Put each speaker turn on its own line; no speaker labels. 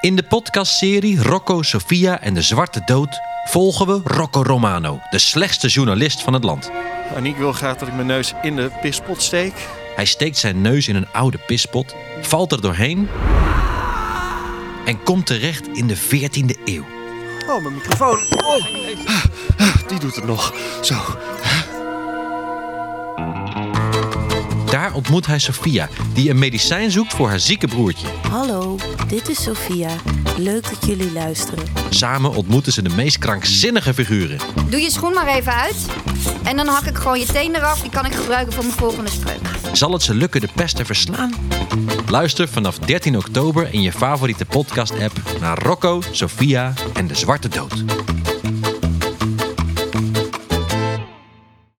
In de podcastserie Rocco, Sofia en de Zwarte Dood volgen we Rocco Romano, de slechtste journalist van het land.
Aniek wil graag dat ik mijn neus in de pispot steek.
Hij steekt zijn neus in een oude pispot, valt er doorheen en komt terecht in de 14e eeuw.
Oh, mijn microfoon. Oh. ah, Die doet het nog. Zo.
Daar ontmoet hij Sofia, die een medicijn zoekt voor haar zieke broertje.
Hallo, dit is Sophia. Leuk dat jullie luisteren.
Samen ontmoeten ze de meest krankzinnige figuren.
Doe je schoen maar even uit. En dan hak ik gewoon je teen eraf. Die kan ik gebruiken voor mijn volgende spreuk.
Zal het ze lukken de pest te verslaan? Luister vanaf 13 oktober in je favoriete podcast-app naar Rocco, Sofia en de Zwarte Dood.